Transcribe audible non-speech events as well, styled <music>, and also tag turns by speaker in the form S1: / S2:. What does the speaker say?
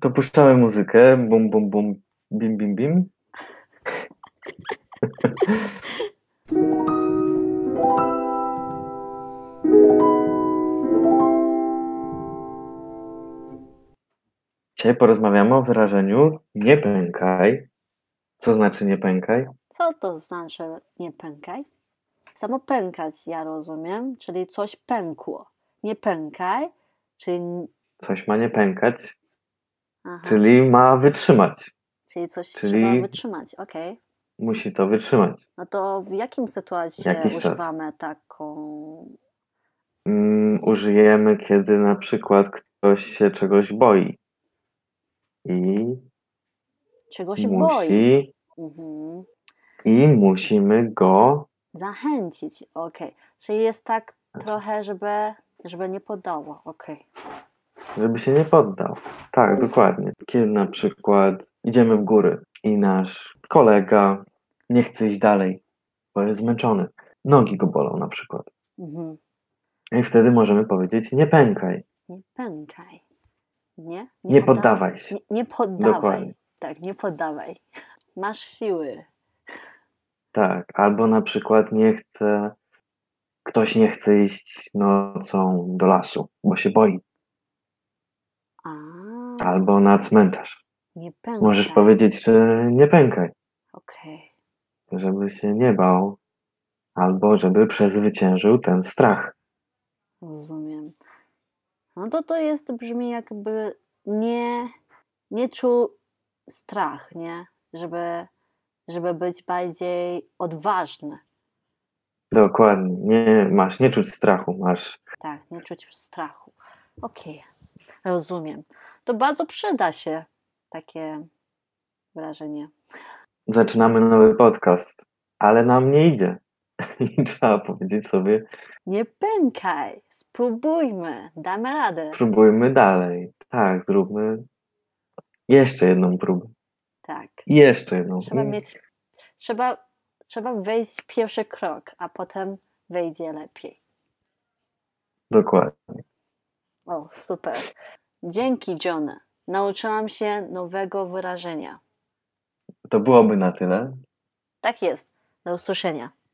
S1: To puszczamy muzykę, bum, bum, bum, bim, bim, bim. Dzisiaj porozmawiamy o wyrażeniu nie pękaj. Co znaczy nie pękaj?
S2: Co to znaczy nie pękaj? Samo pękać ja rozumiem, czyli coś pękło. Nie pękaj, czyli,
S1: Coś ma nie pękać,
S2: aha,
S1: czyli ma wytrzymać.
S2: czyli coś
S1: czyli-
S2: trzeba wytrzymać. Okej.
S1: Musi to wytrzymać.
S2: No to w jakim sytuacji
S1: Jakiś czas.
S2: używamy taką.
S1: Mm, użyjemy, kiedy na przykład ktoś się czegoś boi. I
S2: czego się boi?
S1: musi.
S2: Mhm.
S1: I musimy go.
S2: Zachęcić, okej. Czyli jest tak
S1: Znaczy-
S2: trochę, żeby, żeby nie podało, okej.
S1: żeby się nie poddał. Tak, dokładnie. Kiedy na przykład idziemy w góry i nasz kolega nie chce iść dalej, bo jest zmęczony, nogi go bolą na przykład.
S2: Mhm.
S1: I wtedy możemy powiedzieć: nie pękaj,
S2: Nie pękaj. Nie?
S1: nie,
S2: poda-
S1: poddawaj się.
S2: Nie, nie poddawaj.
S1: Dokładnie.
S2: Tak, nie poddawaj. Masz siły.
S1: Tak, albo na przykład nie chce, ktoś nie chce iść nocą do lasu, bo się boi,
S2: A,
S1: albo na cmentarz.
S2: nie pękaj.
S1: Możesz powiedzieć, że nie pękaj,
S2: Okej.
S1: żeby się nie bał, albo żeby przezwyciężył ten strach.
S2: Rozumiem. No to to jest, brzmi jakby nie, nie czuł strach, nie? Żeby, żeby być bardziej odważny.
S1: Dokładnie. Nie masz nie czuć strachu, masz.
S2: Tak, nie czuć strachu. Okej, rozumiem. To bardzo przyda się takie wrażenie.
S1: Zaczynamy nowy podcast, ale nam nie idzie. <laughs> I trzeba powiedzieć sobie,
S2: Nie pękaj, spróbujmy, damy radę.
S1: próbujmy dalej. Tak, zróbmy jeszcze jedną próbę.
S2: Tak.
S1: I jeszcze jedną.
S2: Trzeba
S1: I
S2: mieć, trzeba, trzeba wejść w pierwszy krok, a potem wyjdzie lepiej.
S1: Dokładnie.
S2: O, super. Dzięki, John. Nauczyłam się nowego wyrażenia.
S1: To byłoby na tyle.
S2: Tak jest. Do usłyszenia.